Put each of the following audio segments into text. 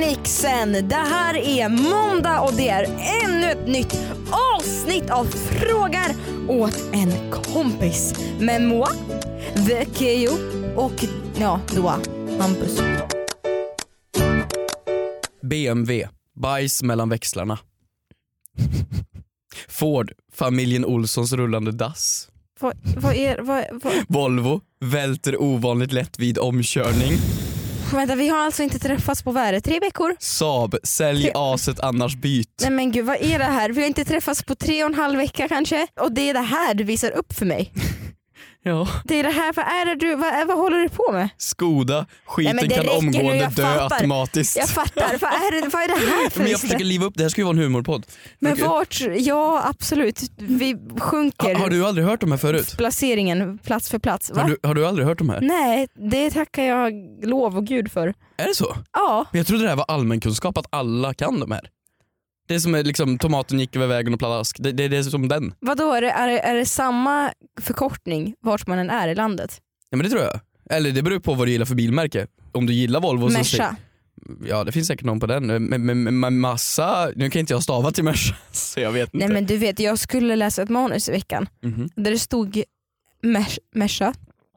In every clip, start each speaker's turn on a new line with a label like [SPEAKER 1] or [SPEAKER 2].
[SPEAKER 1] Nixen. Det här är måndag och det är ännu ett nytt avsnitt av Frågar åt en kompis med Moa, The Keyyo och ja, Doa, Hampus.
[SPEAKER 2] BMW, bajs mellan växlarna. Ford, familjen Olssons rullande dass.
[SPEAKER 1] Vad, vad är vad, vad?
[SPEAKER 2] Volvo, välter ovanligt lätt vid omkörning.
[SPEAKER 1] Vänta, vi har alltså inte träffats på vad är det, tre veckor?
[SPEAKER 2] Saab, sälj aset annars byt.
[SPEAKER 1] Nej men gud vad är det här? Vi har inte träffats på tre och en halv vecka kanske och det är det här du visar upp för mig.
[SPEAKER 2] Ja.
[SPEAKER 1] Det är det här, vad är det du, vad, är- vad håller du på med?
[SPEAKER 2] Skoda, skiten
[SPEAKER 1] Nej, men det
[SPEAKER 2] kan
[SPEAKER 1] räcker nu,
[SPEAKER 2] omgående
[SPEAKER 1] jag
[SPEAKER 2] dö
[SPEAKER 1] fattar.
[SPEAKER 2] automatiskt.
[SPEAKER 1] Jag fattar, vad är det, vad är det här för
[SPEAKER 2] men jag
[SPEAKER 1] lista?
[SPEAKER 2] försöker liva upp det, här ska ju vara en humorpodd.
[SPEAKER 1] Men
[SPEAKER 2] Okej.
[SPEAKER 1] vart, ja absolut, vi sjunker
[SPEAKER 2] Ha, har du aldrig hört de här förut?
[SPEAKER 1] placeringen plats för plats. Va? Mm.
[SPEAKER 2] Har du, har du aldrig hört de här?
[SPEAKER 1] Nej, det tackar jag lov och gud för.
[SPEAKER 2] Är det så?
[SPEAKER 1] Ja,
[SPEAKER 2] Men Jag trodde det här var allmänkunskap, att alla kan de här. Det är som är liksom tomaten gick över vägen och pladask. Det, det, det är som den.
[SPEAKER 1] vadå är det, är, det, är det samma förkortning vart man än är i landet?
[SPEAKER 2] Ja men det tror jag. Eller det beror på vad du gillar för bilmärke. Om du gillar Volvo så...
[SPEAKER 1] Merca.
[SPEAKER 2] Ja det finns säkert någon på den. Men, men, men- men massa... Nu kan inte jag stava till Merca så jag vet inte.
[SPEAKER 1] Nej men du vet, jag skulle läsa ett manus i veckan
[SPEAKER 2] Mhm.
[SPEAKER 1] där det stod Mer- Merca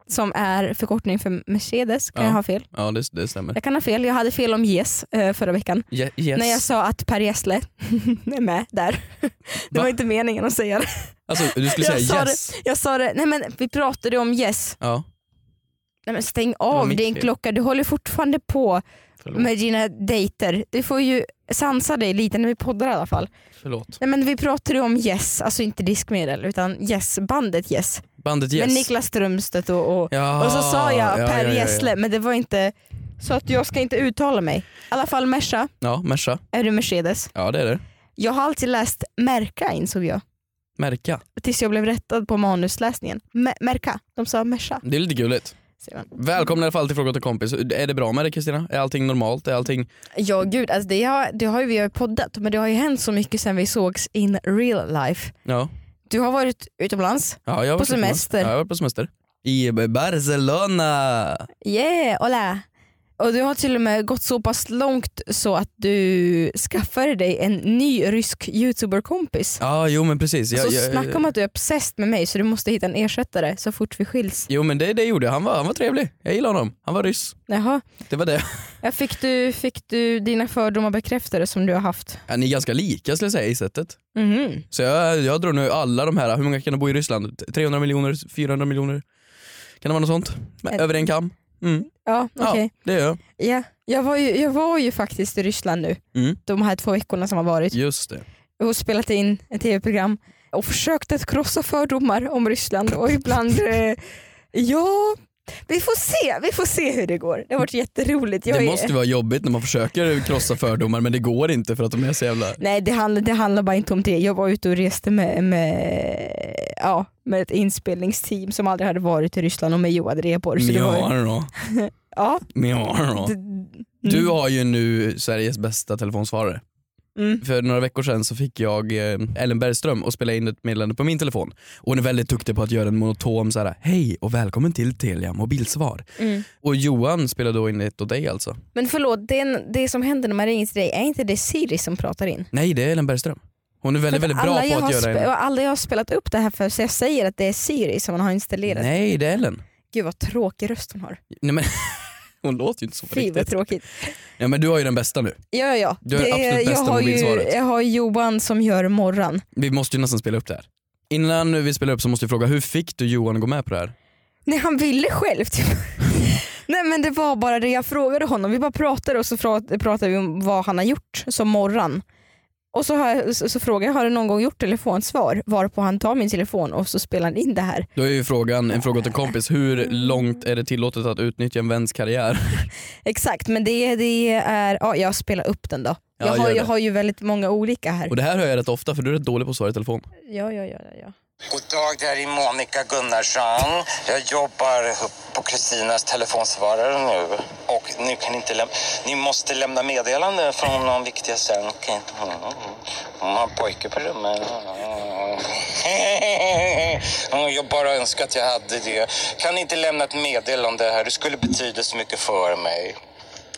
[SPEAKER 1] som är förkortning för Mercedes, kan
[SPEAKER 2] Ja.
[SPEAKER 1] jag ha fel?
[SPEAKER 2] Ja det, det stämmer.
[SPEAKER 1] Jag kan ha fel, jag hade fel om Yes eh, förra veckan.
[SPEAKER 2] Ye- yes.
[SPEAKER 1] När jag sa att Per Gessle är med där. Det
[SPEAKER 2] Va?
[SPEAKER 1] var inte meningen att säga det.
[SPEAKER 2] Alltså du skulle
[SPEAKER 1] Jag
[SPEAKER 2] säga
[SPEAKER 1] sa
[SPEAKER 2] yes.
[SPEAKER 1] Jag sa det, nej men vi pratade om Yes.
[SPEAKER 2] Ja.
[SPEAKER 1] Nej men stäng
[SPEAKER 2] var
[SPEAKER 1] av, det,
[SPEAKER 2] mitt
[SPEAKER 1] är en
[SPEAKER 2] fel.
[SPEAKER 1] klocka. Du håller fortfarande på med dina dejter. Du får ju sansa dig lite när vi poddar i alla fall.
[SPEAKER 2] Förlåt.
[SPEAKER 1] Nej men vi pratade ju om Yes, alltså inte diskmedel utan Yes, bandet Yes.
[SPEAKER 2] Bandet yes.
[SPEAKER 1] Med Niklas Strömstedt och, och
[SPEAKER 2] Ja,
[SPEAKER 1] Och så sa jag
[SPEAKER 2] ja,
[SPEAKER 1] Per
[SPEAKER 2] ja, ja, ja.
[SPEAKER 1] Gessle men det var inte så att jag ska inte uttala mig. I alla fall Merca,
[SPEAKER 2] Ja, Merca.
[SPEAKER 1] är det Mercedes?
[SPEAKER 2] Ja det är det.
[SPEAKER 1] Jag har alltid läst Merca insåg jag.
[SPEAKER 2] Märka.
[SPEAKER 1] Tills jag blev rättad på manusläsningen. Me- Merca, de sa Merca.
[SPEAKER 2] Det är lite gulligt.
[SPEAKER 1] säger man.
[SPEAKER 2] Välkomna i alla fall till Fråga till kompis. Är det bra med dig Kristina? Är allting normalt? Är allting...
[SPEAKER 1] Ja gud, alltså det, har, det har ju vi har ju poddat men det har ju hänt så mycket sen vi sågs in real life.
[SPEAKER 2] Ja.
[SPEAKER 1] Du har varit utomlands,
[SPEAKER 2] ja jag
[SPEAKER 1] På
[SPEAKER 2] har varit utomlands.
[SPEAKER 1] semester.
[SPEAKER 2] Ja, jag har varit på semester. I Barcelona.
[SPEAKER 1] yeah, hola! Och du har till och med gått så pass långt så att du skaffade dig en ny rysk youtuberkompis.
[SPEAKER 2] Ja, jo men precis. Jag,
[SPEAKER 1] så
[SPEAKER 2] jag-
[SPEAKER 1] Alltså, snacka om att du är obsessed med mig så du måste hitta en ersättare så fort vi skiljs.
[SPEAKER 2] Jo men det, det gjorde jag. Han var, han var trevlig. Jag gillar honom. Han var ryss.
[SPEAKER 1] Jaha.
[SPEAKER 2] Det var det.
[SPEAKER 1] Ja, fick, du, fick du dina fördomar bekräftade som du har haft?
[SPEAKER 2] Ja, ni är ganska lika skulle jag säga i sättet.
[SPEAKER 1] Mhm.
[SPEAKER 2] Så jag, jag drar nu alla de här, hur många kan det bo i Ryssland? 300 miljoner, 400 miljoner? Kan det vara något sånt? Men,
[SPEAKER 1] Ett-
[SPEAKER 2] Över en kam? Mm.
[SPEAKER 1] Ja, okej.
[SPEAKER 2] Ja, det gör jag.
[SPEAKER 1] Ja. Jag, var ju, jag var ju faktiskt i Ryssland nu
[SPEAKER 2] Mm.
[SPEAKER 1] de här två veckorna som har varit
[SPEAKER 2] Just det.
[SPEAKER 1] och spelat in ett tv-program och försökt att krossa fördomar om Ryssland och ibland, eh, ja, vi får se, vi får se hur det går. Det har varit jätteroligt. Jag
[SPEAKER 2] det
[SPEAKER 1] är-
[SPEAKER 2] måste ju vara jobbigt när man försöker krossa fördomar men det går inte för att de är så jävla...
[SPEAKER 1] Nej det handlar, det handlar bara inte om det. Jag var ute och reste med, med, ja, med ett inspelningsteam som aldrig hade varit i Ryssland och med Johan Rebor. Så det var,
[SPEAKER 2] Mjau,
[SPEAKER 1] ja,
[SPEAKER 2] mjau.
[SPEAKER 1] det,
[SPEAKER 2] Du har ju nu Sveriges bästa telefonsvarare.
[SPEAKER 1] mm,
[SPEAKER 2] För några veckor sedan så fick jag eh, Ellen Bergström att spela in ett meddelande på min telefon. Och hon är väldigt duktig på att göra en monotom så här: hej och välkommen till Telia mobilsvar.
[SPEAKER 1] mm.
[SPEAKER 2] Och Johan spelar då in ett åt dig alltså.
[SPEAKER 1] Men förlåt, det, är en, det som händer när man ringer till dig, är inte det Siri som pratar in?
[SPEAKER 2] Nej det är Ellen Bergström. Hon är väldigt, väldigt bra
[SPEAKER 1] alla jag
[SPEAKER 2] på att
[SPEAKER 1] har
[SPEAKER 2] göra
[SPEAKER 1] spe-
[SPEAKER 2] en...
[SPEAKER 1] och Alla jag har spelat upp det här för så jag säger att det är Siri som man har installerat.
[SPEAKER 2] Nej det är Ellen.
[SPEAKER 1] Gud vad tråkig röst hon har.
[SPEAKER 2] Nej, men... Hon låter ju inte så på
[SPEAKER 1] Fy vad
[SPEAKER 2] riktigt.
[SPEAKER 1] tråkigt.
[SPEAKER 2] Ja, men du har ju den bästa nu.
[SPEAKER 1] Ja ja, ja.
[SPEAKER 2] Du är det
[SPEAKER 1] jag,
[SPEAKER 2] absolut bästa
[SPEAKER 1] har ju,
[SPEAKER 2] mobilsvaret.
[SPEAKER 1] jag har Johan som gör morgon.
[SPEAKER 2] Vi måste ju nästan spela upp det här. Innan vi spelar upp så måste vi fråga, hur fick du Johan att gå med på det här?
[SPEAKER 1] Nej han ville själv typ. Nej men det var bara det jag frågade honom. Vi bara pratade och så fra- pratade vi om vad han har gjort som morgon. Och så, har jag, så, så frågade jag, har du någon gång gjort telefonsvar? Varpå han tar min telefon och så spelar han in det här.
[SPEAKER 2] Då är ju frågan, en fråga till en kompis, hur långt är det tillåtet att utnyttja en väns karriär?
[SPEAKER 1] Exakt men det, det är, ja jag spelar upp den då.
[SPEAKER 2] Ja,
[SPEAKER 1] jag, har,
[SPEAKER 2] gör det.
[SPEAKER 1] jag har ju väldigt många olika här.
[SPEAKER 2] Och det här hör jag rätt ofta för du är rätt dålig på att svara i telefon.
[SPEAKER 1] Ja, ja, ja, ja.
[SPEAKER 3] God dag, det här är Monica Gunnarsson. Jag jobbar på Kristinas telefonsvarare nu. Och ni, kan inte läm- ni måste lämna meddelande från någon viktiga sänk. Mm. Hon har en pojke på rummet. Mm. Jag bara önskar att jag hade det. Kan ni inte lämna ett meddelande här? Det skulle betyda så mycket för mig.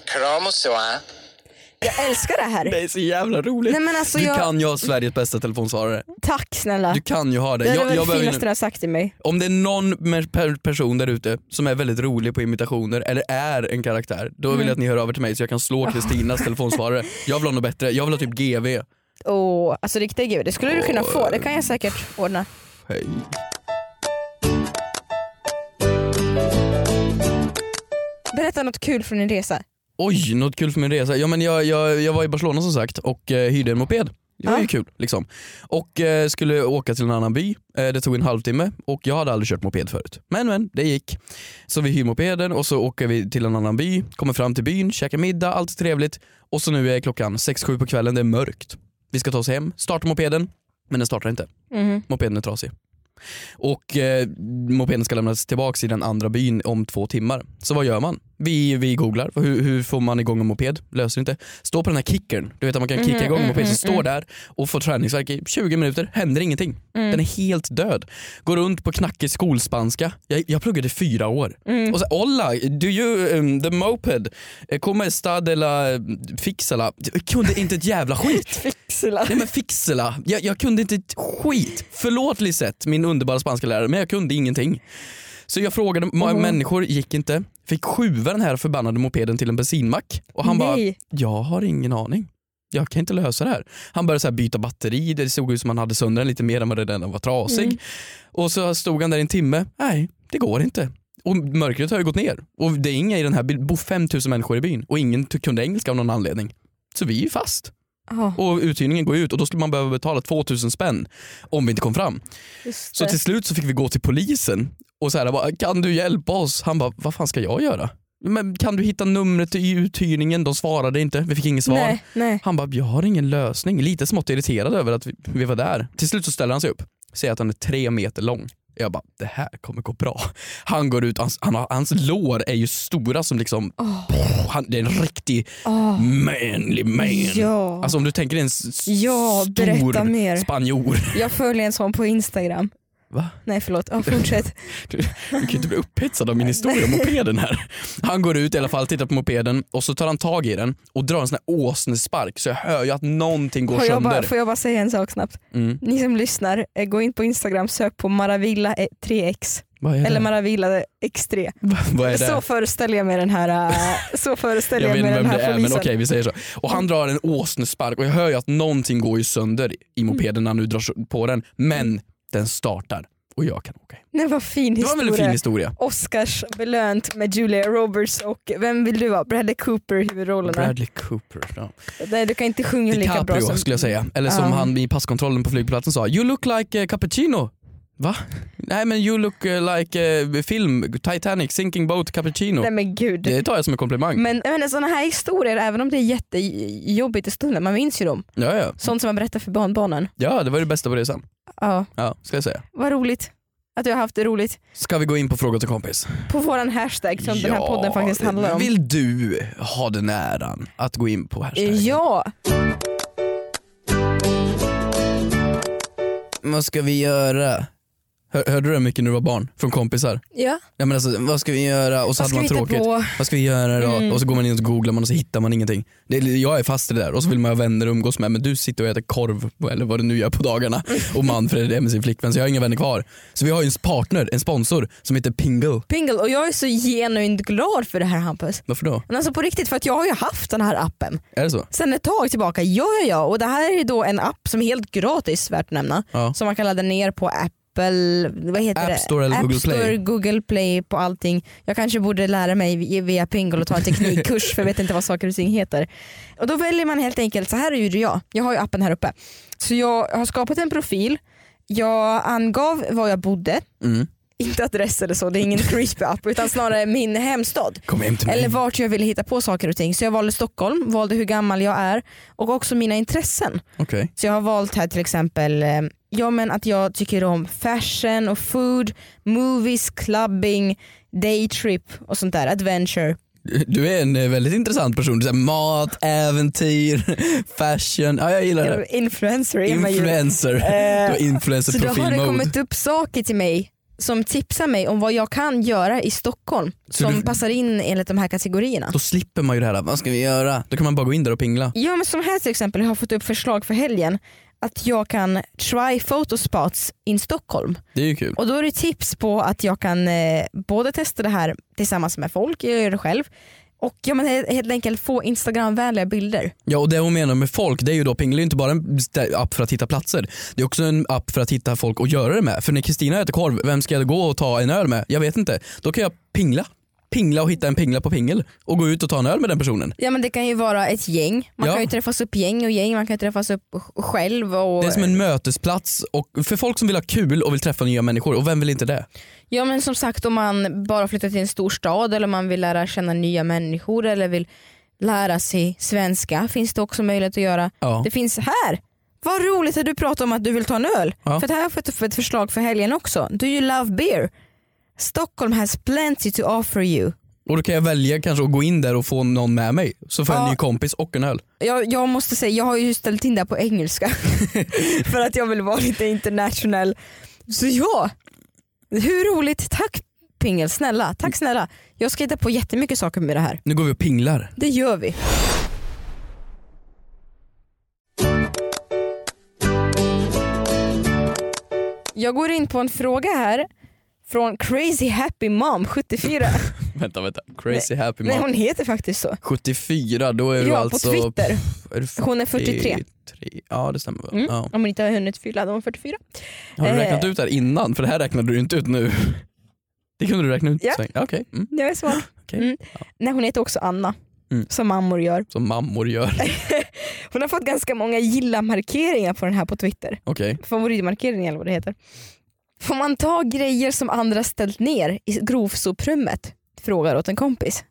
[SPEAKER 3] Kram och så. eh?
[SPEAKER 1] Jag älskar det här.
[SPEAKER 2] Det är så jävla roligt.
[SPEAKER 1] Nej, men alltså,
[SPEAKER 2] du
[SPEAKER 1] jag-
[SPEAKER 2] kan ju ha Sveriges bästa telefonsvarare.
[SPEAKER 1] Tack snälla.
[SPEAKER 2] Du kan ju ha det.
[SPEAKER 1] Det är
[SPEAKER 2] Jag-
[SPEAKER 1] väl
[SPEAKER 2] jag
[SPEAKER 1] det
[SPEAKER 2] behöver
[SPEAKER 1] finaste
[SPEAKER 2] ju-
[SPEAKER 1] du har sagt till mig.
[SPEAKER 2] Om det är någon mer- per- person där ute som är väldigt rolig på imitationer eller är en karaktär, då
[SPEAKER 1] Mm.
[SPEAKER 2] vill jag att ni hör över till mig så jag kan slå Kristinas telefonsvarare. Jag vill ha något bättre. Jag vill ha typ GV.
[SPEAKER 1] Åh, alltså riktiga gud, det skulle du kunna få. Det kan jag säkert ordna.
[SPEAKER 2] Hej.
[SPEAKER 1] Berätta något kul från din resa.
[SPEAKER 2] Oj, något kul för min resa. Ja, men jag, jag, jag var i Barcelona som sagt och eh, hyrde en moped. Det var
[SPEAKER 1] Ja.
[SPEAKER 2] ju kul. Liksom. Och eh, skulle åka till en annan by. Eh, det tog en halvtimme och jag hade aldrig kört moped förut. Men men, det gick. Så vi hyr mopeden och så åker vi till en annan by, kommer fram till byn, käkar middag, allt är trevligt. Och så nu är klockan 6-7 på kvällen, det är mörkt. Vi ska ta oss hem, starta mopeden, men den startar inte.
[SPEAKER 1] Mhm.
[SPEAKER 2] Mopeden är trasig. Och eh, mopeden ska lämnas tillbaks i den andra byn om två timmar. Så vad gör man? Vi, vi googlar. Hur, hur får man igång en moped? Löser inte. Stå på den här kickern. Du vet att man kan kicka igång en moped. Så står där och får träningsvärk i 20 minuter. Händer ingenting. Den är helt död. Går runt på knackig skolspanska. Jag, jag pluggade i fyra år. Och så Olla, do you, um, the moped, eh, come stad eller fixala? Jag kunde inte ett jävla skit.
[SPEAKER 1] Fixla.
[SPEAKER 2] Nej men fixela, jag, jag kunde inte ett skit. Förlåt Lisette, min underbara spanska lärare, men jag kunde ingenting. Så jag frågade många människor, gick inte. Fick skjuva den här förbannade mopeden till en bensinmack och han bara,
[SPEAKER 1] Nej.
[SPEAKER 2] jag har ingen aning. Jag kan inte lösa det här. Han började så här byta batteri, det såg ut som han hade sönder den lite mer än vad den redan var trasig. Och så stod han där i en timme, nej det går inte. Och mörkret har ju gått ner och det är inga i den här byn, bor 5000 människor i byn och ingen ty- kunde engelska av någon anledning. Så vi är ju fast
[SPEAKER 1] Ja,
[SPEAKER 2] och uthyrningen går ut och då skulle man behöva betala 2000 spänn om vi inte kom fram.
[SPEAKER 1] just
[SPEAKER 2] Så
[SPEAKER 1] det.
[SPEAKER 2] till slut så fick vi gå till polisen och så här, bara, kan du hjälpa oss? Han bara, vad fan ska jag göra? Men kan du hitta numret i uthyrningen? De svarade inte, vi fick inget svar.
[SPEAKER 1] Nej, nej.
[SPEAKER 2] Han bara, jag har ingen lösning. Lite smått irriterad över att vi, vi var där. Till slut så ställer han sig upp, säger att han är tre meter lång. Jag bara, det här kommer gå bra. Han går ut, hans, han har, hans lår är ju stora som liksom, han, det är en riktig
[SPEAKER 1] Åh.
[SPEAKER 2] manly man.
[SPEAKER 1] Ja.
[SPEAKER 2] Alltså om du tänker dig en s- s-
[SPEAKER 1] Ja, berätta mer.
[SPEAKER 2] stor spanjor.
[SPEAKER 1] Jag följer en sån på Instagram.
[SPEAKER 2] Va?
[SPEAKER 1] Nej förlåt, ja, fortsätt.
[SPEAKER 2] Du, du kan ju inte bli upphetsad av min historia om mopeden här. Han går ut i alla fall, tittar på mopeden och så tar han tag i den och drar en sån här åsnespark så jag hör ju att någonting går
[SPEAKER 1] Får jag, bara,
[SPEAKER 2] sönder.
[SPEAKER 1] får jag bara säga en sak snabbt?
[SPEAKER 2] Mm.
[SPEAKER 1] Ni som lyssnar, eh, gå in på Instagram, sök på Maravilla eh, 3x.
[SPEAKER 2] Vad är
[SPEAKER 1] Eller
[SPEAKER 2] det?
[SPEAKER 1] Maravilla X3.
[SPEAKER 2] Vad Mm. är
[SPEAKER 1] Så
[SPEAKER 2] det?
[SPEAKER 1] föreställer jag mig den här, eh, så föreställer
[SPEAKER 2] Jag
[SPEAKER 1] jag
[SPEAKER 2] vet
[SPEAKER 1] mig
[SPEAKER 2] inte
[SPEAKER 1] den
[SPEAKER 2] vem
[SPEAKER 1] här
[SPEAKER 2] det är men
[SPEAKER 1] polisen.
[SPEAKER 2] okej vi säger så. Och han drar en åsnespark och jag hör ju att någonting går ju sönder i
[SPEAKER 1] Mm.
[SPEAKER 2] mopeden när han nu drar på den. Men den startar och jag kan åka hem.
[SPEAKER 1] Nej, vad fin
[SPEAKER 2] Det var
[SPEAKER 1] historia.
[SPEAKER 2] en väldigt fin historia.
[SPEAKER 1] Oscars belönt med Julia Roberts och vem vill du vara? Bradley Cooper i huvudrollerna.
[SPEAKER 2] Bradley Cooper. Ja.
[SPEAKER 1] Nej du kan inte sjunga lika bra
[SPEAKER 2] DiCaprio
[SPEAKER 1] som...
[SPEAKER 2] skulle jag säga. Eller som
[SPEAKER 1] Ja.
[SPEAKER 2] han i passkontrollen på flygplatsen sa, you look like eh, cappuccino. Va? Nej men you look eh, like eh, film, Titanic, sinking boat, cappuccino.
[SPEAKER 1] Nej men gud.
[SPEAKER 2] Det tar jag som en komplimang.
[SPEAKER 1] Men, men sådana här historier, även om det är jättejobbigt i stunden, man minns ju dem.
[SPEAKER 2] Ja, ja.
[SPEAKER 1] Sånt som man berättar för barnbarnen.
[SPEAKER 2] ja, det var det bästa på resan.
[SPEAKER 1] Ja,
[SPEAKER 2] Ja, ska jag säga.
[SPEAKER 1] vad roligt att du har haft det roligt.
[SPEAKER 2] Ska vi gå in på fråga till kompis?
[SPEAKER 1] På våran hashtag som den här podden faktiskt handlar om.
[SPEAKER 2] Vill du ha den äran att gå in på hashtaggen?
[SPEAKER 1] Ja,
[SPEAKER 2] Vad ska vi göra? Hör, hörde du det mycket när du var barn? Från kompisar?
[SPEAKER 1] ja.
[SPEAKER 2] Ja, men alltså, vad ska vi göra? Och så
[SPEAKER 1] Vad
[SPEAKER 2] hade man
[SPEAKER 1] ska vi hitta
[SPEAKER 2] tråkigt.
[SPEAKER 1] på?
[SPEAKER 2] Vad ska vi göra då?
[SPEAKER 1] Mm.
[SPEAKER 2] Och så går man in och så googlar man och så hittar man ingenting. Det, är- jag är fast i det där och så vill man ha vänner att umgås med men du sitter och äter korv eller vad du nu gör på dagarna
[SPEAKER 1] Mm.
[SPEAKER 2] och Manfred är med sin flickvän så jag har inga vänner kvar. Så vi har ju en partner, en sponsor som heter Pingo.
[SPEAKER 1] Pingle, och jag är så genuint glad för det här Hampus.
[SPEAKER 2] Varför då?
[SPEAKER 1] Men alltså på riktigt, för att jag har ju haft den här appen
[SPEAKER 2] Är det så?
[SPEAKER 1] sen ett tag tillbaka. Ja, ja, ja. Och det här är då en app som är helt gratis värt att nämna.
[SPEAKER 2] Ja.
[SPEAKER 1] Som man kan ladda ner på Apple, vad heter
[SPEAKER 2] App Store
[SPEAKER 1] det?
[SPEAKER 2] eller
[SPEAKER 1] App
[SPEAKER 2] Google Play.
[SPEAKER 1] Store, Google Play på allting. Jag kanske borde lära mig vi- via Pingle och ta en teknikkurs för jag vet inte vad saker och ting heter. Och då väljer man helt enkelt, så här är ju jag, jag har ju appen här uppe. Så jag har skapat en profil, jag angav var jag bodde,
[SPEAKER 2] Mm.
[SPEAKER 1] inte adress eller så, det är ingen creepy app utan snarare min hemstad.
[SPEAKER 2] Kom hem till mig.
[SPEAKER 1] Eller vart jag ville hitta på saker och ting. Så jag valde Stockholm, valde hur gammal jag är och också mina intressen.
[SPEAKER 2] Okej.
[SPEAKER 1] Så jag har valt här till exempel eh, ja, men att jag tycker om fashion och food, movies, clubbing, daytrip och sånt där. Adventure.
[SPEAKER 2] Du är en eh, väldigt intressant person. Du säger mat, äventyr, fashion. Ja, jag gillar det.
[SPEAKER 1] Influencer är man ju.
[SPEAKER 2] Influencer. Du har
[SPEAKER 1] Eh, Så då har det
[SPEAKER 2] influencer-profil-mode.
[SPEAKER 1] kommit upp saker till mig som tipsar mig om vad jag kan göra i Stockholm
[SPEAKER 2] Så
[SPEAKER 1] som
[SPEAKER 2] du-
[SPEAKER 1] passar in enligt de här kategorierna.
[SPEAKER 2] Då slipper man ju det här, vad ska vi göra? Då kan man bara gå in där och pingla.
[SPEAKER 1] Ja men som här till exempel jag har fått upp förslag för helgen att jag kan try photospots in Stockholm.
[SPEAKER 2] Det är ju kul.
[SPEAKER 1] Och då är det tips på att jag kan eh, både testa det här tillsammans med folk, jag gör det själv, och ja, men he- helt enkelt få Instagram-vänliga bilder.
[SPEAKER 2] Ja och det hon menar med folk det är ju då Pingla är ju inte bara en st- app för att hitta platser. Det är också en app för att hitta folk att göra det med. För när Kristina äter korv, vem ska jag gå och ta en öl med? Jag vet inte. Då kan jag pingla. Pingla och hitta en pingla på pingel och gå ut och ta en öl med den personen.
[SPEAKER 1] Ja men det kan ju vara ett gäng, man
[SPEAKER 2] Ja.
[SPEAKER 1] kan ju träffas upp gäng och gäng, man kan ju träffas upp sj- själv. Och,
[SPEAKER 2] Det är som en mötesplats och för folk som vill ha kul och vill träffa nya människor och vem vill inte det?
[SPEAKER 1] Ja men som sagt om man bara flyttar till en stor stad eller man vill lära känna nya människor eller vill lära sig svenska finns det också möjlighet att göra.
[SPEAKER 2] Ja.
[SPEAKER 1] Det finns här! Vad roligt att du pratar om att du vill ta en öl.
[SPEAKER 2] Ja.
[SPEAKER 1] För det här har jag fått upp ett förslag för helgen också. Do you love beer? Stockholm has plenty to offer you.
[SPEAKER 2] Och då kan jag välja kanske att gå in där och få någon med mig. Så får jag en
[SPEAKER 1] Ja.
[SPEAKER 2] ny kompis och en öl.
[SPEAKER 1] Jag, jag måste säga, jag har ju ställt in det här på engelska för att jag vill vara lite international. Så ja, hur roligt. Tack Pingel, snälla. Tack snälla. Jag ska hitta på jättemycket saker med det här.
[SPEAKER 2] Nu går vi och pinglar.
[SPEAKER 1] Det gör vi. Jag går in på en fråga här från Crazy Happy Mom 74.
[SPEAKER 2] Vänta vänta. Crazy happy
[SPEAKER 1] Nej
[SPEAKER 2] mom.
[SPEAKER 1] hon heter faktiskt så.
[SPEAKER 2] 74 då är du
[SPEAKER 1] Ja,
[SPEAKER 2] alltså...
[SPEAKER 1] på Twitter.
[SPEAKER 2] Pff, är du
[SPEAKER 1] Hon är 43.
[SPEAKER 2] 43. Ja det stämmer väl.
[SPEAKER 1] Mm.
[SPEAKER 2] Ja.
[SPEAKER 1] Om hon inte har hunnit fylla, då är hon 44.
[SPEAKER 2] Har du
[SPEAKER 1] Eh.
[SPEAKER 2] räknat ut det här innan? För det här räknade du inte ut nu. Det kunde du räkna ut?
[SPEAKER 1] Ja.
[SPEAKER 2] Sven. Okej, mm.
[SPEAKER 1] Det var svårt.
[SPEAKER 2] Okej.
[SPEAKER 1] Mm. Nej, hon heter också Anna,
[SPEAKER 2] Mm.
[SPEAKER 1] som mammor gör.
[SPEAKER 2] som mammor gör.
[SPEAKER 1] Hon har fått ganska många gilla-markeringar på den här på Twitter.
[SPEAKER 2] Okej.
[SPEAKER 1] Favoritmarkeringar eller vad det heter. Får man ta grejer som andra ställt ner i grovsoprummet? Frågar åt en kompis.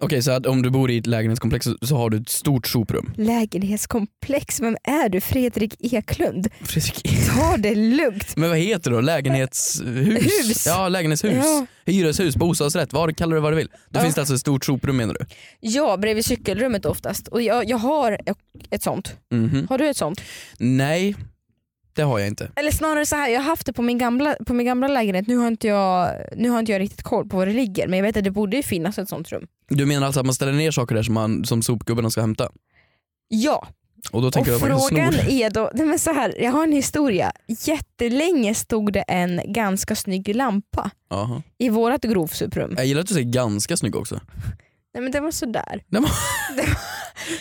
[SPEAKER 2] Okej, så att om du bor i ett lägenhetskomplex så- så har du ett stort soprum.
[SPEAKER 1] Lägenhetskomplex, vem är du? Fredrik Eklund?
[SPEAKER 2] Fredrik.
[SPEAKER 1] Ta det lugnt.
[SPEAKER 2] Men vad heter det då? Lägenhetshus?
[SPEAKER 1] Hus.
[SPEAKER 2] Ja, lägenhetshus.
[SPEAKER 1] Ja.
[SPEAKER 2] Hyreshus, bostadsrätt, vad kallar du vad du vill. Då
[SPEAKER 1] Ja.
[SPEAKER 2] finns det alltså ett stort soprum menar du?
[SPEAKER 1] Ja, bredvid cykelrummet oftast. Och jag, jag har ett sånt.
[SPEAKER 2] Mhm.
[SPEAKER 1] Har du ett sånt?
[SPEAKER 2] Nej, det har jag inte.
[SPEAKER 1] Eller snarare så här, jag har haft det på min gamla, på min gamla lägenhet. Nu har, inte jag, nu har inte jag riktigt koll på var det ligger. Men jag vet att det borde ju finnas ett sånt rum.
[SPEAKER 2] Du menar alltså att man ställer ner saker där som, man, som sopgubbarna ska hämta?
[SPEAKER 1] Ja,
[SPEAKER 2] Och då tänker
[SPEAKER 1] och
[SPEAKER 2] du att man
[SPEAKER 1] frågan
[SPEAKER 2] snor?
[SPEAKER 1] är då, nej men så här, jag har en historia. Jättelänge stod det en ganska snygg lampa
[SPEAKER 2] Jaha.
[SPEAKER 1] i vårt grovsuprum.
[SPEAKER 2] Jag gillar att du säger ganska snygg också.
[SPEAKER 1] Nej men den var sådär.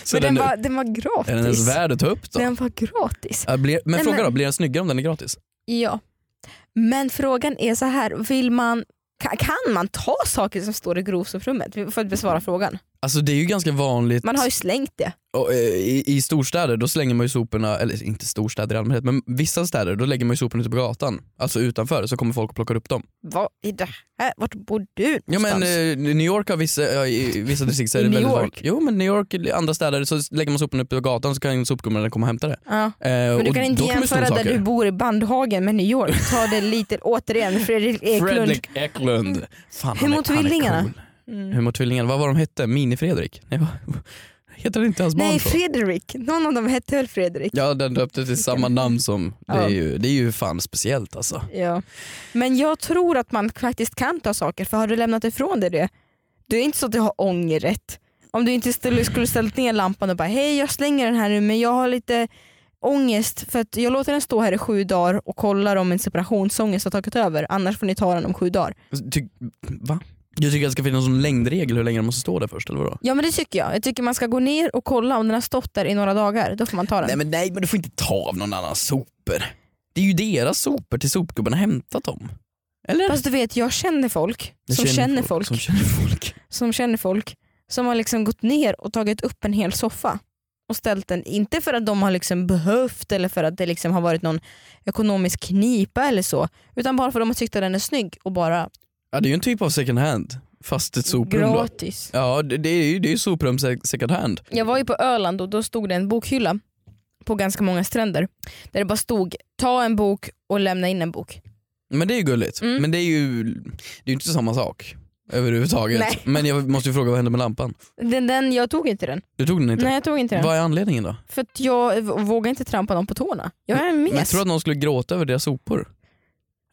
[SPEAKER 2] Så
[SPEAKER 1] Men den,
[SPEAKER 2] är-
[SPEAKER 1] var, den var gratis.
[SPEAKER 2] Är den ens värd att ta upp då?
[SPEAKER 1] den var gratis.
[SPEAKER 2] Ja, blir, men
[SPEAKER 1] Nej,
[SPEAKER 2] fråga
[SPEAKER 1] men-
[SPEAKER 2] då, blir den snyggare om den är gratis?
[SPEAKER 1] Ja. Men frågan är så här, vill man, ka- kan man ta saker som står i grovsoprummet? För att besvara frågan.
[SPEAKER 2] Alltså det är ju ganska vanligt
[SPEAKER 1] Man har ju slängt det.
[SPEAKER 2] och, eh, i, i storstäder, då slänger man ju soporna, eller inte storstäder i allmänhet, men vissa städer då lägger man ju soporna ute på gatan, alltså utanför, så kommer folk och plockar upp dem.
[SPEAKER 1] Vad är det här? Vart bor du
[SPEAKER 2] Ja men
[SPEAKER 1] någonstans?
[SPEAKER 2] eh, New York har vissa, ja, i i vissa distrikt så är
[SPEAKER 1] I
[SPEAKER 2] det
[SPEAKER 1] New
[SPEAKER 2] väldigt
[SPEAKER 1] York?
[SPEAKER 2] vanligt. Jo men New York, i andra städer så lägger man soporna ute på gatan så kan sopgubbarna komma och hämta det.
[SPEAKER 1] ja.
[SPEAKER 2] Eh,
[SPEAKER 1] Men du
[SPEAKER 2] och
[SPEAKER 1] kan inte
[SPEAKER 2] då kommer det sno
[SPEAKER 1] jämföra där
[SPEAKER 2] saker.
[SPEAKER 1] du bor i Bandhagen med New York. Ta det lite, återigen, Fredrik Eklund. Mm.
[SPEAKER 2] Fredrik Eklund. Fan, han är-
[SPEAKER 1] Humortvillingarna.
[SPEAKER 2] han är cool.
[SPEAKER 1] Mm.
[SPEAKER 2] Humortvillingarna, vad var de hette? Mini-Fredrik? Nej, vad? Heter inte hans barn
[SPEAKER 1] Nej,
[SPEAKER 2] så?
[SPEAKER 1] Fredrik. Någon av dem hette väl Fredrik?
[SPEAKER 2] Ja den döpte till samma namn som, det
[SPEAKER 1] Ja.
[SPEAKER 2] är ju, det är ju fan speciellt alltså.
[SPEAKER 1] Ja. Men jag tror att man faktiskt kan ta saker, för har du lämnat ifrån dig det, det är inte så att du har ångerrätt. Om du inte skulle, skulle ställt ner lampan och bara hej jag slänger den här nu men jag har lite ångest för att jag låter den stå här i sju dagar och kollar om min separationsångest har tagit över annars får ni ta den om sju dagar.
[SPEAKER 2] Ty, va? Jag tycker att det ska finnas någon längdregel hur länge de måste stå där först eller vadå?
[SPEAKER 1] Ja men det tycker jag. Jag tycker man ska gå ner och kolla om den har stått där i några dagar, då får man ta den.
[SPEAKER 2] Nej men, nej men du får inte ta av någon annans sopor. Det är ju deras sopor till sopgubben har hämtat dem. Eller?
[SPEAKER 1] Fast du vet jag känner folk
[SPEAKER 2] Jag
[SPEAKER 1] som känner folk,
[SPEAKER 2] Som känner folk.
[SPEAKER 1] som känner folk som har liksom gått ner och tagit upp en hel soffa och ställt den, inte för att de har liksom behövt eller för att det liksom har varit någon ekonomisk knipa eller så, utan bara för att de har tyckt att den är snygg och bara
[SPEAKER 2] Ja det är ju en typ av second hand. Fast ett soprum då.
[SPEAKER 1] gratis.
[SPEAKER 2] Ja det, det är ju det är ju soprum sec- second hand.
[SPEAKER 1] Jag var ju på Öland och då stod det en bokhylla på ganska många stränder där det bara stod ta en bok och lämna in en bok.
[SPEAKER 2] Men det är ju gulligt.
[SPEAKER 1] Mm.
[SPEAKER 2] Men det är ju det är ju inte samma sak. Överhuvudtaget.
[SPEAKER 1] Nej.
[SPEAKER 2] Men jag måste ju fråga vad hände med lampan?
[SPEAKER 1] Den, den, jag tog inte den.
[SPEAKER 2] Du tog den inte?
[SPEAKER 1] Nej jag tog inte den.
[SPEAKER 2] Vad är anledningen då?
[SPEAKER 1] För att jag v- vågar inte trampa någon på tårna. Jag är en
[SPEAKER 2] Men
[SPEAKER 1] mes.
[SPEAKER 2] tror du att någon skulle gråta över deras sopor?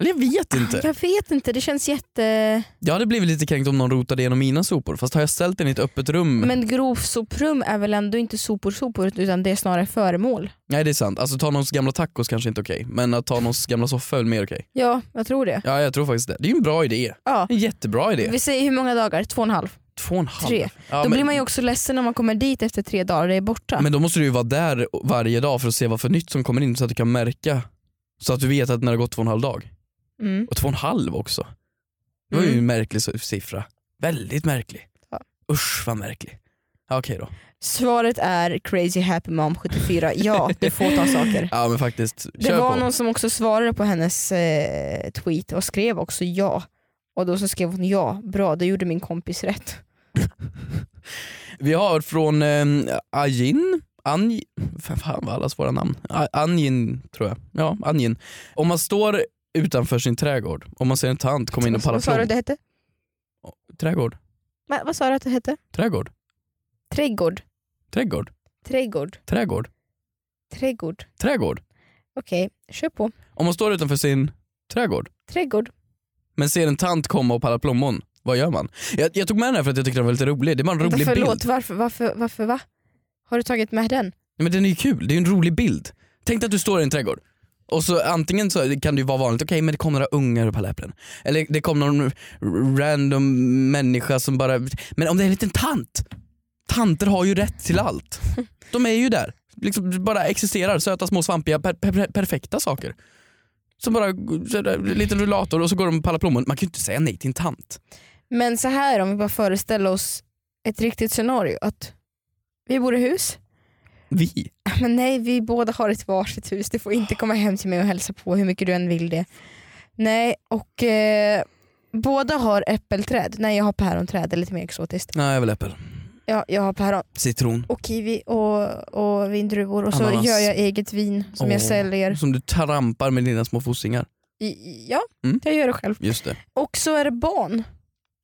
[SPEAKER 2] Eller jag vet inte.
[SPEAKER 1] Jag vet inte, det känns jätte...
[SPEAKER 2] Jag hade blivit lite kränkt om någon rotade igenom mina sopor. Fast har jag ställt den i ett öppet rum?
[SPEAKER 1] Men grovsoprum är väl ändå inte sopor-sopor utan det är snarare föremål.
[SPEAKER 2] Nej det är sant. Alltså ta någons gamla tacos kanske inte okej. Men att ta någons gamla soffa är väl mer okej.
[SPEAKER 1] Ja, jag tror det.
[SPEAKER 2] Ja jag tror faktiskt det. Det är ju en bra idé.
[SPEAKER 1] Ja.
[SPEAKER 2] En jättebra idé.
[SPEAKER 1] Vi säger hur många dagar? Två och en halv?
[SPEAKER 2] Två och en halv.
[SPEAKER 1] Tre.
[SPEAKER 2] Ja,
[SPEAKER 1] Då
[SPEAKER 2] men,
[SPEAKER 1] blir man ju också ledsen om man kommer dit efter tre dagar och det är borta.
[SPEAKER 2] men då måste du ju vara där varje dag för att se vad för nytt som kommer in så att du kan märka. Så att du vet att när det har gått två och en halv dag.
[SPEAKER 1] Mm.
[SPEAKER 2] Och två och en halv också. Det var ju
[SPEAKER 1] Mm.
[SPEAKER 2] en märklig so- siffra. Väldigt märklig.
[SPEAKER 1] Ja.
[SPEAKER 2] Usch vad märklig. Ja, okej då.
[SPEAKER 1] Svaret är crazy happy mom 74. Ja, du får ta saker.
[SPEAKER 2] Ja men faktiskt,
[SPEAKER 1] Det
[SPEAKER 2] kör
[SPEAKER 1] var
[SPEAKER 2] på.
[SPEAKER 1] någon som också svarade på hennes eh, tweet och skrev också ja. Och då så skrev hon ja, bra det gjorde min kompis rätt.
[SPEAKER 2] Vi har från eh, Ajin, Anj, fan vad alla svåra namn. A- Anjin tror jag. Ja, Anjin. Om man står utanför sin trädgård, om man ser en tant komma in och palla
[SPEAKER 1] Vad sa du att
[SPEAKER 2] plom.
[SPEAKER 1] det hette?
[SPEAKER 2] Trädgård,
[SPEAKER 1] Va, vad sa du att det hette?
[SPEAKER 2] trädgård,
[SPEAKER 1] Trädgård,
[SPEAKER 2] trädgård,
[SPEAKER 1] trädgård,
[SPEAKER 2] trädgård,
[SPEAKER 1] trädgård.
[SPEAKER 2] trädgård.
[SPEAKER 1] Okej, kör på.
[SPEAKER 2] Om man står utanför sin trädgård
[SPEAKER 1] Trädgård.
[SPEAKER 2] men ser en tant komma och palla plommon, vad gör man? Jag, jag tog med den här för att jag tyckte den var lite rolig. Det var en
[SPEAKER 1] Vänta,
[SPEAKER 2] rolig bild.
[SPEAKER 1] Förlåt, varför, varför, varför va? Har du tagit med den?
[SPEAKER 2] Nej, men den är ju kul, det är ju en rolig bild. Tänk dig att du står i en trädgård och så antingen så kan det ju vara vanligt, okej men det kom några ungar och pallade äpplen. Eller det kom någon random människa som bara, men om det är en liten tant. Tanter har ju rätt till allt. De är ju där, liksom bara existerar, söta små svampiga per, per, per, perfekta saker. Som bara, så där, en liten rullator och så går de och pallar plommon. Man kan ju inte säga nej till en tant.
[SPEAKER 1] Men så här om vi bara föreställer oss ett riktigt scenario. Att vi bor i hus.
[SPEAKER 2] Vi.
[SPEAKER 1] Men nej, vi båda har ett varsitt hus. Du får inte komma hem till mig och hälsa på hur mycket du än vill det. Nej, och eh, båda har äppelträd. Nej, jag har päronträd. Det är lite mer exotiskt.
[SPEAKER 2] Nej jag vill äppel.
[SPEAKER 1] Ja, jag har päron
[SPEAKER 2] Citron.
[SPEAKER 1] och kiwi och, och vindruvor. Och så
[SPEAKER 2] Ananas.
[SPEAKER 1] gör jag eget vin som jag
[SPEAKER 2] Åh.
[SPEAKER 1] säljer.
[SPEAKER 2] Som du trampar med dina små fossingar.
[SPEAKER 1] I- i- Ja,
[SPEAKER 2] Mm.
[SPEAKER 1] jag gör det själv.
[SPEAKER 2] Just det.
[SPEAKER 1] Och så är det barn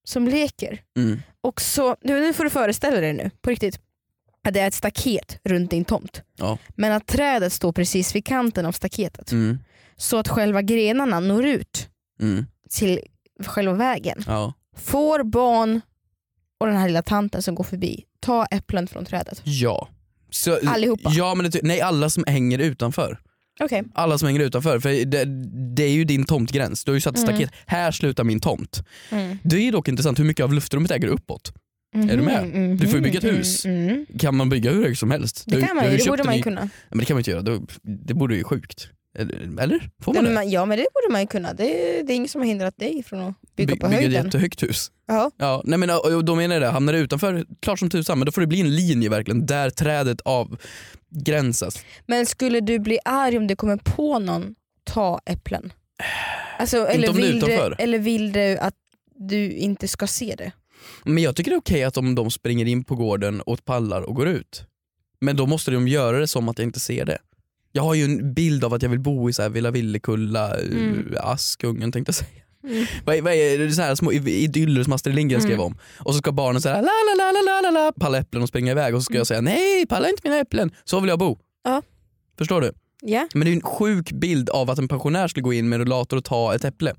[SPEAKER 1] som leker.
[SPEAKER 2] Mm.
[SPEAKER 1] Och så, nu nu får du föreställa dig nu, på riktigt. Att det är ett staket runt din tomt.
[SPEAKER 2] Ja.
[SPEAKER 1] Men att trädet står precis vid kanten av staketet.
[SPEAKER 2] Mm.
[SPEAKER 1] Så att själva grenarna når ut
[SPEAKER 2] Mm.
[SPEAKER 1] till själva vägen.
[SPEAKER 2] Ja.
[SPEAKER 1] Får barn och den här lilla tanten som går förbi ta äpplen från trädet?
[SPEAKER 2] ja. Så,
[SPEAKER 1] Allihopa.
[SPEAKER 2] Ja, men det, ty- nej, alla som hänger utanför.
[SPEAKER 1] Okej.
[SPEAKER 2] Alla som hänger utanför. För det, det är ju din tomtgräns. Du har ju satt
[SPEAKER 1] Mm.
[SPEAKER 2] staket. Här slutar min tomt. Det är ju dock intressant hur mycket av luftrummet äger uppåt. Är du med? Du får ju bygga ett hus.
[SPEAKER 1] Mm. Mm.
[SPEAKER 2] Kan man bygga hur högt som helst?
[SPEAKER 1] Mm-hmm. Det
[SPEAKER 2] Du-
[SPEAKER 1] kan man
[SPEAKER 2] du har
[SPEAKER 1] ju, det
[SPEAKER 2] köpt
[SPEAKER 1] borde
[SPEAKER 2] en
[SPEAKER 1] man ju
[SPEAKER 2] ny-
[SPEAKER 1] kunna.
[SPEAKER 2] Nej, men det kan man inte göra. Då- Det borde ju sjukt. Eller? eller? Får
[SPEAKER 1] Nej,
[SPEAKER 2] man
[SPEAKER 1] men
[SPEAKER 2] det?
[SPEAKER 1] man, ja men det borde man ju kunna. Det, det är ingen som har hindrat dig från att bygga
[SPEAKER 2] By-
[SPEAKER 1] på
[SPEAKER 2] bygga ett
[SPEAKER 1] höjden.
[SPEAKER 2] jättehögt hus.
[SPEAKER 1] Ja.
[SPEAKER 2] Ja, nej men och då menar jag det, hamnar det utanför, klart som tusan, men då får det bli en linje verkligen där trädet avgränsas.
[SPEAKER 1] Men skulle du bli arg om det kommer på någon ta äpplen? Alltså, eller,
[SPEAKER 2] om det är
[SPEAKER 1] vill du,
[SPEAKER 2] utanför.
[SPEAKER 1] eller vill du att du inte ska se det?
[SPEAKER 2] Men jag tycker det är okej att om de springer in på gården och pallar och går ut. Men då måste de göra det som att jag inte ser det. Jag har ju en bild av att jag vill bo i så här Villa Villekulla,
[SPEAKER 1] Mm.
[SPEAKER 2] eh, Askungen tänkte jag säga.
[SPEAKER 1] Mm.
[SPEAKER 2] Vad är, vad är det, så här små idyller som Astrid Lindgren skrev om. Och så ska barnen säga la la la la la la la palla äpplen och springa iväg och så ska jag säga nej palla inte mina äpplen, så vill jag bo.
[SPEAKER 1] Mm. Ja.
[SPEAKER 2] Förstår du?
[SPEAKER 1] Ja.
[SPEAKER 2] Men det är ju en sjuk bild av att en pensionär skulle gå in med en rullator och ta ett äpple.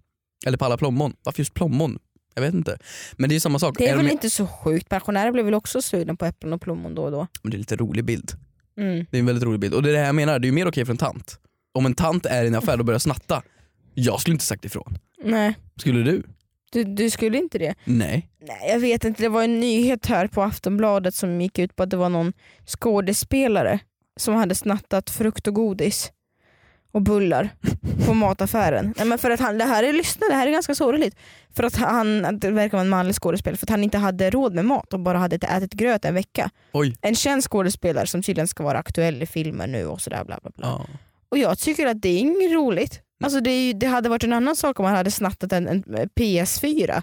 [SPEAKER 2] Eller palla plommon. Varför just plommon? Jag vet inte. Men det är ju samma sak.
[SPEAKER 1] Det är
[SPEAKER 2] de-
[SPEAKER 1] väl inte så sjukt, pensionärer blir väl också sugna på äpplen och plommon då och då.
[SPEAKER 2] Men det är en lite rolig bild.
[SPEAKER 1] Mm.
[SPEAKER 2] Det är en väldigt rolig bild. Och det är det här jag menar, det är ju mer okej för en tant. Om en tant är i en affär och börjar snatta, jag skulle inte sagt ifrån.
[SPEAKER 1] Nej,
[SPEAKER 2] Skulle du?
[SPEAKER 1] du, du skulle inte det?
[SPEAKER 2] Nej.
[SPEAKER 1] Nej jag vet inte, det var en nyhet här på Aftonbladet som gick ut på att det var någon skådespelare som hade snattat frukt och godis och bullar på mataffären. Nej, men för att han, det här är, lyssna, det här är ganska sorgligt. För att han, att det verkar vara en manlig skådespelare, för att han inte hade råd med mat och bara hade ätit gröt en vecka.
[SPEAKER 2] Oj.
[SPEAKER 1] En känd skådespelare som tydligen ska vara aktuell i filmer nu och sådär bla bla bla.
[SPEAKER 2] Ja.
[SPEAKER 1] Och jag tycker att det är inget roligt. Alltså det, är ju, det hade varit en annan sak om man hade snattat en, en PS4
[SPEAKER 2] ja.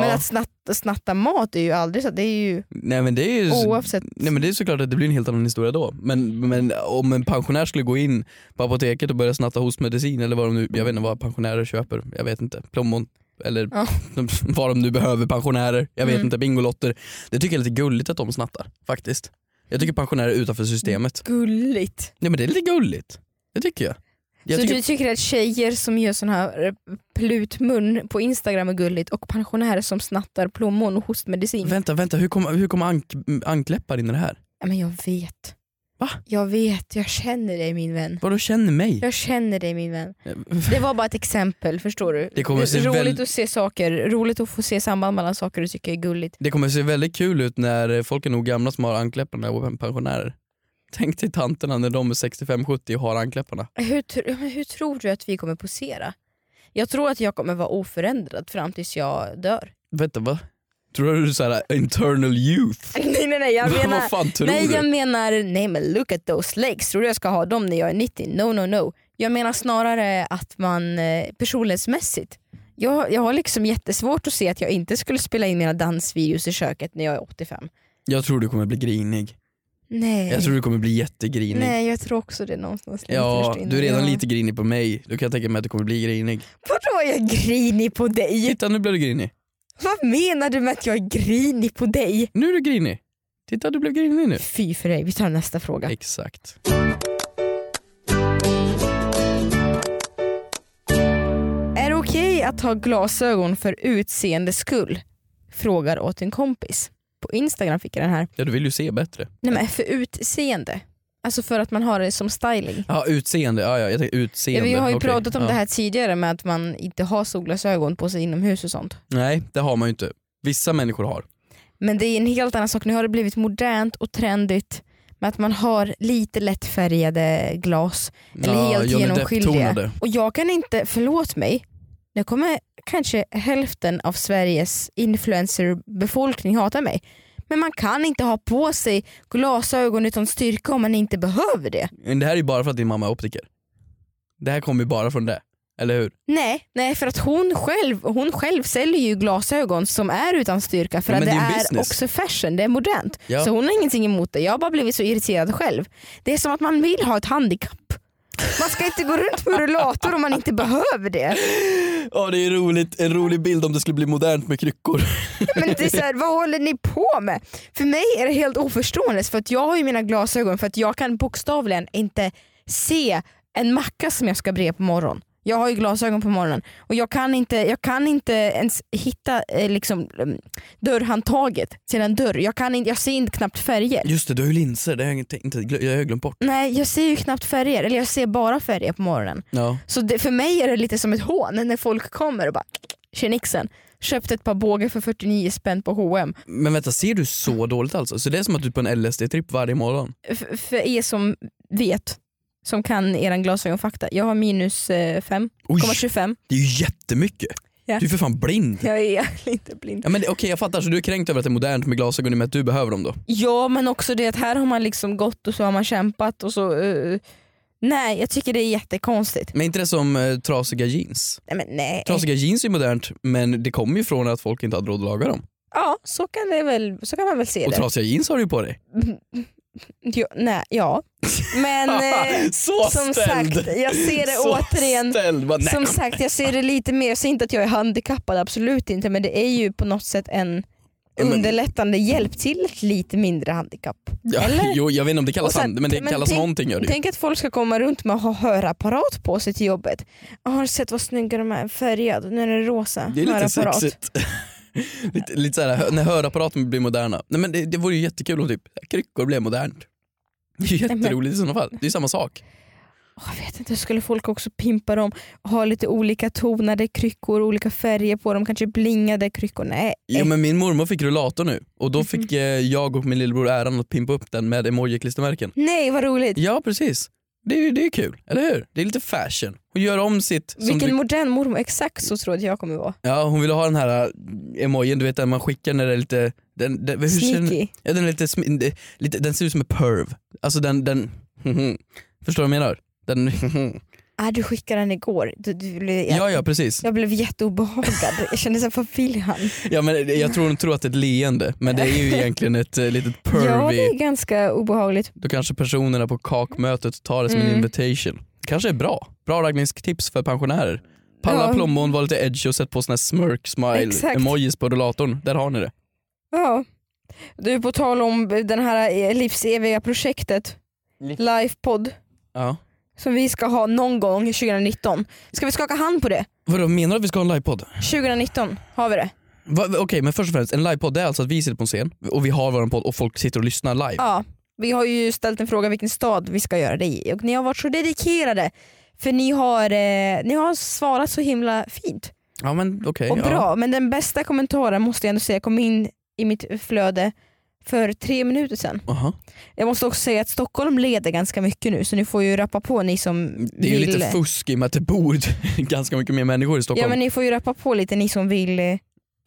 [SPEAKER 1] men att snatta, snatta mat är ju aldrig så. Det är ju
[SPEAKER 2] Nej men det är ju...
[SPEAKER 1] oavsett.
[SPEAKER 2] Nej men det är såklart att det blir en helt annan historia då. Men, men om en pensionär skulle gå in på apoteket och börja snatta hostmedicin eller vad de nu, jag vet inte vad pensionärer köper, jag vet inte, plommon eller
[SPEAKER 1] Ja.
[SPEAKER 2] vad de nu behöver pensionärer, jag vet
[SPEAKER 1] Mm.
[SPEAKER 2] inte, bingolotter. Det tycker jag är lite gulligt att de snattar faktiskt.
[SPEAKER 1] Mm.
[SPEAKER 2] Jag tycker pensionärer är utanför systemet.
[SPEAKER 1] Gulligt.
[SPEAKER 2] Nej men det är lite gulligt, det tycker jag. Jag
[SPEAKER 1] så
[SPEAKER 2] tycker,
[SPEAKER 1] du tycker att tjejer som gör sån här eh, plutmun på Instagram är gulligt och pensionärer som snattar plommon och hostmedicin?
[SPEAKER 2] Vänta, vänta, hur kommer hur kom ank, ankläppar in i det här?
[SPEAKER 1] Ja, men jag vet.
[SPEAKER 2] Va?
[SPEAKER 1] Jag vet, jag känner dig min vän.
[SPEAKER 2] Vadå känner mig?
[SPEAKER 1] Jag känner dig min vän. Det var bara ett exempel, förstår du?
[SPEAKER 2] Det kommer se
[SPEAKER 1] roligt
[SPEAKER 2] väl-
[SPEAKER 1] att se saker, roligt att få se samband mellan saker du tycker är gulligt.
[SPEAKER 2] Det kommer se väldigt kul ut när folk är nog gamla som har ankläpparna och är pensionärer. Tänk till tanterna när de är 65-70 och har ankläpparna.
[SPEAKER 1] Hur, tr- ja, men hur tror du att vi kommer posera? Jag tror att jag kommer vara oförändrad fram tills jag dör.
[SPEAKER 2] Vänta va? Tror du det är så här äh, internal youth?
[SPEAKER 1] nej nej nej, jag menar...
[SPEAKER 2] Vad fan tror
[SPEAKER 1] Nej
[SPEAKER 2] du?
[SPEAKER 1] jag menar, nej men look at those legs, tror du jag ska ha dem när jag är 90? No no no. Jag menar snarare att man eh, personlighetsmässigt, jag, jag har liksom jättesvårt att se att jag inte skulle spela in mina dansvideos i köket när jag är 85.
[SPEAKER 2] Jag tror du kommer bli grinig.
[SPEAKER 1] Nej,
[SPEAKER 2] Jag tror du kommer bli jättegrinig.
[SPEAKER 1] nej jag tror också det någonstans. lite
[SPEAKER 2] Ja,
[SPEAKER 1] först in.
[SPEAKER 2] du är redan
[SPEAKER 1] Ja.
[SPEAKER 2] lite grinig på mig. Då kan jag tänka mig att du kommer bli grinig.
[SPEAKER 1] Vadå är jag grinig på dig?
[SPEAKER 2] Titta nu blev du grinig.
[SPEAKER 1] Vad menar du med att jag är grinig på dig?
[SPEAKER 2] Nu är du grinig. Titta du blev grinig nu.
[SPEAKER 1] Fy för dig, vi tar nästa fråga.
[SPEAKER 2] Exakt.
[SPEAKER 1] Är det okej att ha glasögon för utseendes skull? Frågar åt en kompis. På Instagram fick jag den här.
[SPEAKER 2] Ja du vill ju se bättre.
[SPEAKER 1] Nej men för utseende. Alltså för att man har det som styling.
[SPEAKER 2] Ja utseende, ja, ja jag tänkte
[SPEAKER 1] Ja,
[SPEAKER 2] utseende.
[SPEAKER 1] vi har ju
[SPEAKER 2] Okej.
[SPEAKER 1] pratat om
[SPEAKER 2] ja.
[SPEAKER 1] det här tidigare med att man inte har solglasögon på sig inomhus och sånt.
[SPEAKER 2] Nej det har man ju inte. Vissa människor har.
[SPEAKER 1] Men det är en helt annan sak. Nu har det blivit modernt och trendigt med att man har lite lättfärgade glas. Eller helt
[SPEAKER 2] Johnny
[SPEAKER 1] genomskinliga.
[SPEAKER 2] Depp-tonade.
[SPEAKER 1] Och jag kan inte, förlåt mig, nu kommer kanske hälften av Sveriges influencerbefolkning hata mig. Men man kan inte ha på sig glasögon utan styrka om man inte behöver det.
[SPEAKER 2] Men det här är ju bara för att din mamma är optiker. Det här kommer ju bara från det. Eller hur?
[SPEAKER 1] Nej, nej för att hon själv, hon själv säljer ju glasögon som är utan styrka för
[SPEAKER 2] Ja,
[SPEAKER 1] att
[SPEAKER 2] men
[SPEAKER 1] det
[SPEAKER 2] det är ju
[SPEAKER 1] är
[SPEAKER 2] business.
[SPEAKER 1] också fashion, det är modernt.
[SPEAKER 2] Ja.
[SPEAKER 1] Så hon har ingenting emot det, jag har bara blivit så irriterad själv. Det är som att man vill ha ett handikapp. Man ska inte gå runt med rullator om man inte behöver det.
[SPEAKER 2] Ja det är roligt, en rolig bild om det skulle bli modernt med kryckor.
[SPEAKER 1] Men det är så här, vad håller ni på med? För mig är det helt oförståeligt för att jag har ju mina glasögon för att jag kan bokstavligen inte se en macka som jag ska bre på morgonen. Jag har ju glasögon på morgonen och jag kan inte, jag kan inte ens hitta eh, liksom, em, dörrhandtaget till en dörr. Jag, kan inte, jag ser inte knappt färger.
[SPEAKER 2] Just det, du har ju linser, det har jag, inte, inte, jag har ju glömt bort.
[SPEAKER 1] Nej jag ser ju knappt färger, eller jag ser bara färger på morgonen.
[SPEAKER 2] Ja.
[SPEAKER 1] Så det, för mig är det lite som ett hån när folk kommer och bara “tjenixen, köpte ett par bågar för 49 spänn på H&M
[SPEAKER 2] Men vänta, ser du så dåligt alltså? Så det är som att du är på en LSD-tripp varje morgon?
[SPEAKER 1] F- för er som vet, som kan eran glasögonfakta, jag har minus eh, 5,25.
[SPEAKER 2] Oj, det är ju jättemycket!
[SPEAKER 1] Ja.
[SPEAKER 2] Du är för fan blind.
[SPEAKER 1] Jag är inte blind.
[SPEAKER 2] Ja, men det- Okej jag fattar, så du är kränkt över att det är modernt med glasögon i och med att du behöver dem då?
[SPEAKER 1] Ja men också det att här har man liksom gått och så har man kämpat och så... eh, nej jag tycker det är jättekonstigt.
[SPEAKER 2] Men inte det som eh, trasiga jeans?
[SPEAKER 1] Nej, men nej.
[SPEAKER 2] Trasiga jeans är ju modernt men det kommer ju från att folk inte hade råd att laga dem.
[SPEAKER 1] Ja så kan, det väl, så kan man väl se
[SPEAKER 2] Och
[SPEAKER 1] det.
[SPEAKER 2] trasiga jeans har du ju på dig.
[SPEAKER 1] Jo, nej, ja. Men eh,
[SPEAKER 2] så
[SPEAKER 1] som
[SPEAKER 2] ställd!
[SPEAKER 1] sagt, jag ser det
[SPEAKER 2] så
[SPEAKER 1] återigen
[SPEAKER 2] Ställd. Bara, nej.
[SPEAKER 1] Som sagt, jag ser det lite mer. Jag ser inte att jag är handikappad, absolut inte. Men det är ju på något sätt en
[SPEAKER 2] men-
[SPEAKER 1] underlättande hjälp till ett lite mindre handikapp.
[SPEAKER 2] Ja,
[SPEAKER 1] Eller?
[SPEAKER 2] Jo, jag vet inte om det kallas
[SPEAKER 1] Och sen-
[SPEAKER 2] hand, men det
[SPEAKER 1] men
[SPEAKER 2] kallas
[SPEAKER 1] tänk-
[SPEAKER 2] någonting gör det ju.
[SPEAKER 1] Tänk att folk ska komma runt med att ha hörapparat på sig till jobbet. Jag har du sett vad snygga de är, färgad. Nu är den rosa.
[SPEAKER 2] Det är lite
[SPEAKER 1] hörapparat.
[SPEAKER 2] sexigt. lite, lite såhär, hö- när hörapparaten blir moderna. Nej, men det, det vore ju jättekul om typ, kryckor blev modernt. Det är ju
[SPEAKER 1] men-
[SPEAKER 2] jätteroligt i sådana fall. Det är ju samma sak.
[SPEAKER 1] Åh, Ah, jag vet inte, skulle folk också pimpa dem? Ha lite olika tonade kryckor, olika färger på dem, kanske blingade kryckor. Nej.
[SPEAKER 2] Jo men min mormor fick rullator nu och
[SPEAKER 1] Mhm.
[SPEAKER 2] då fick eh, jag och min lillebror äran att pimpa upp den med emoji-klistermärken.
[SPEAKER 1] Nej vad roligt.
[SPEAKER 2] Ja precis. Det är ju det är kul, eller hur? Det är lite fashion. Hon gör om sitt... som
[SPEAKER 1] Vilken
[SPEAKER 2] du-
[SPEAKER 1] modern mormor, exakt så tror jag att jag kommer vara.
[SPEAKER 2] Ja, hon ville ha den här äh, emojin du vet den man skickar när det är lite... Den, den, hur ser den,
[SPEAKER 1] Sneaky.
[SPEAKER 2] ja, den, är lite, smi- det- lite, den ser ut som en perv. Alltså den... den förstår du vad jag menar? Den,
[SPEAKER 1] Ah, du skickade den igår. Du, du, blev-
[SPEAKER 2] ja, ja precis.
[SPEAKER 1] Jag blev jätteobehagad. Jag kände såhär, vad vill han?
[SPEAKER 2] Ja, men jag tror hon tror att det är ett leende men det är ju egentligen ett äh, litet
[SPEAKER 1] Ja det
[SPEAKER 2] pervy.
[SPEAKER 1] är ganska obehagligt.
[SPEAKER 2] Då kanske personerna på kakmötet tar det som en
[SPEAKER 1] Mm.
[SPEAKER 2] invitation. kanske är bra. Bra raggningstips för pensionärer. Palla
[SPEAKER 1] Ja.
[SPEAKER 2] plommon, var lite edgy och sätt på såna här smirk smile
[SPEAKER 1] Exakt.
[SPEAKER 2] emojis på rullatorn. Där har ni det.
[SPEAKER 1] Ja. Du på tal om den här livseviga eh, projektet,
[SPEAKER 2] Liv-
[SPEAKER 1] Lifepod.
[SPEAKER 2] Ja.
[SPEAKER 1] som vi ska ha någon gång 2019. Ska vi skaka hand på det?
[SPEAKER 2] Vadå menar du att vi ska ha en livepodd?
[SPEAKER 1] 2019 har vi det.
[SPEAKER 2] Va- Okej men först och främst, en livepodd det är alltså att vi sitter på en scen och vi har vår podd och folk sitter och lyssnar live.
[SPEAKER 1] Ja, vi har ju ställt en fråga vilken stad vi ska göra det i och ni har varit så dedikerade för ni har, eh, ni har svarat så himla fint
[SPEAKER 2] Ja men okej.
[SPEAKER 1] och
[SPEAKER 2] ja.
[SPEAKER 1] bra. Men den bästa kommentaren måste jag ändå säga kom in i mitt flöde för tre minuter sedan.
[SPEAKER 2] Aha.
[SPEAKER 1] Jag måste också säga att Stockholm leder ganska mycket nu så ni får ju rappa på ni som
[SPEAKER 2] Det är ju
[SPEAKER 1] vill.
[SPEAKER 2] lite fusk i och med att det bor ganska mycket mer människor i
[SPEAKER 1] ja
[SPEAKER 2] Stockholm.
[SPEAKER 1] men ni får ju rappa på lite ni som vill. eh,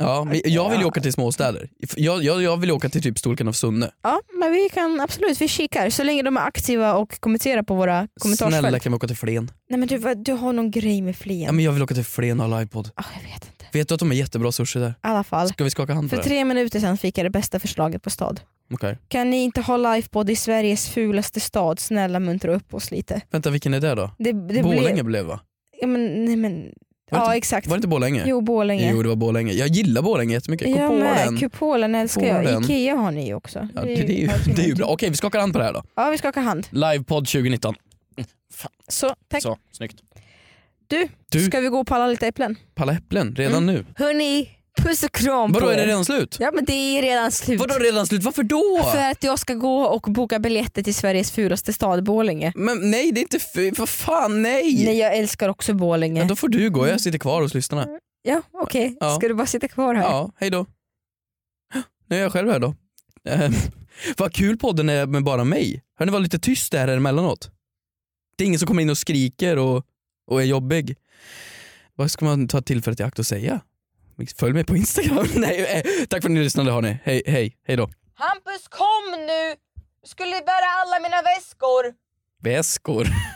[SPEAKER 2] Ja, men jag vill ju åka till småstäder. Jag, jag, jag vill åka till typ storleken av Sunne.
[SPEAKER 1] Ja men vi kan absolut, vi kikar så länge de är aktiva och kommenterar på våra kommentarsfält.
[SPEAKER 2] Snälla kan vi åka till Flen?
[SPEAKER 1] Nej men du, vad- du har någon grej med Flen.
[SPEAKER 2] Ja, men jag vill åka till Flen och ha livepodd.
[SPEAKER 1] Ah, jag vet inte. I
[SPEAKER 2] Vet du att de är jättebra sushi där?
[SPEAKER 1] alla fall.
[SPEAKER 2] Ska vi skaka hand på
[SPEAKER 1] För
[SPEAKER 2] det?
[SPEAKER 1] tre minuter sedan fick jag det bästa förslaget på stad.
[SPEAKER 2] Okej.
[SPEAKER 1] Kan ni inte ha lifebody i Sveriges fulaste stad? Snälla muntra upp oss lite.
[SPEAKER 2] Vänta vilken är det då?
[SPEAKER 1] Det, det
[SPEAKER 2] Borlänge
[SPEAKER 1] Blev,
[SPEAKER 2] blev, va?
[SPEAKER 1] ja, men, nej, men,
[SPEAKER 2] Var det
[SPEAKER 1] ja
[SPEAKER 2] inte-
[SPEAKER 1] exakt.
[SPEAKER 2] Var det inte Borlänge?
[SPEAKER 1] Jo Borlänge.
[SPEAKER 2] Jo, det var Borlänge. Jag gillar Borlänge jättemycket. Kom
[SPEAKER 1] jag
[SPEAKER 2] på
[SPEAKER 1] med,
[SPEAKER 2] den.
[SPEAKER 1] kupolen älskar jag.
[SPEAKER 2] Kupolen.
[SPEAKER 1] Ikea har ni ju också.
[SPEAKER 2] Ja, det, det, är ju, det är ju bra. Okej vi skakar hand på det här då.
[SPEAKER 1] Ja vi skakar hand.
[SPEAKER 2] Livepodd 2019.
[SPEAKER 1] Så, tack.
[SPEAKER 2] Så, snyggt.
[SPEAKER 1] Du,
[SPEAKER 2] Du-
[SPEAKER 1] ska vi gå och palla lite äpplen?
[SPEAKER 2] Palla äpplen redan nu.
[SPEAKER 1] Hörni, puss och kram Mm.
[SPEAKER 2] Vadå
[SPEAKER 1] på
[SPEAKER 2] är
[SPEAKER 1] er.
[SPEAKER 2] det redan slut?
[SPEAKER 1] Ja men det är redan slut.
[SPEAKER 2] Vadå redan slut? Varför då?
[SPEAKER 1] För att jag ska gå och boka biljetter till Sveriges fulaste stad, Borlänge.
[SPEAKER 2] Men nej det är inte fy, vad fan nej!
[SPEAKER 1] Nej Mm. jag älskar också Borlänge.
[SPEAKER 2] Ja, då får du gå, jag sitter kvar hos lyssnarna.
[SPEAKER 1] Ja, okej.
[SPEAKER 2] Ja.
[SPEAKER 1] Ska du bara sitta kvar här?
[SPEAKER 2] Ja, hej då. Nu är jag själv här då. Eh, vad kul podden är med bara mig. Hörni, var lite tyst där emellanåt. Det är ingen som kommer in och skriker och, och är jobbig. Vad ska man ta tillfället i akt och säga? Följ mig på Instagram. Nej, eh, tack för att ni lyssnade hörni. Hej, hej, hej då.
[SPEAKER 4] Hampus kom nu! Skulle bära alla mina väskor.
[SPEAKER 2] Väskor.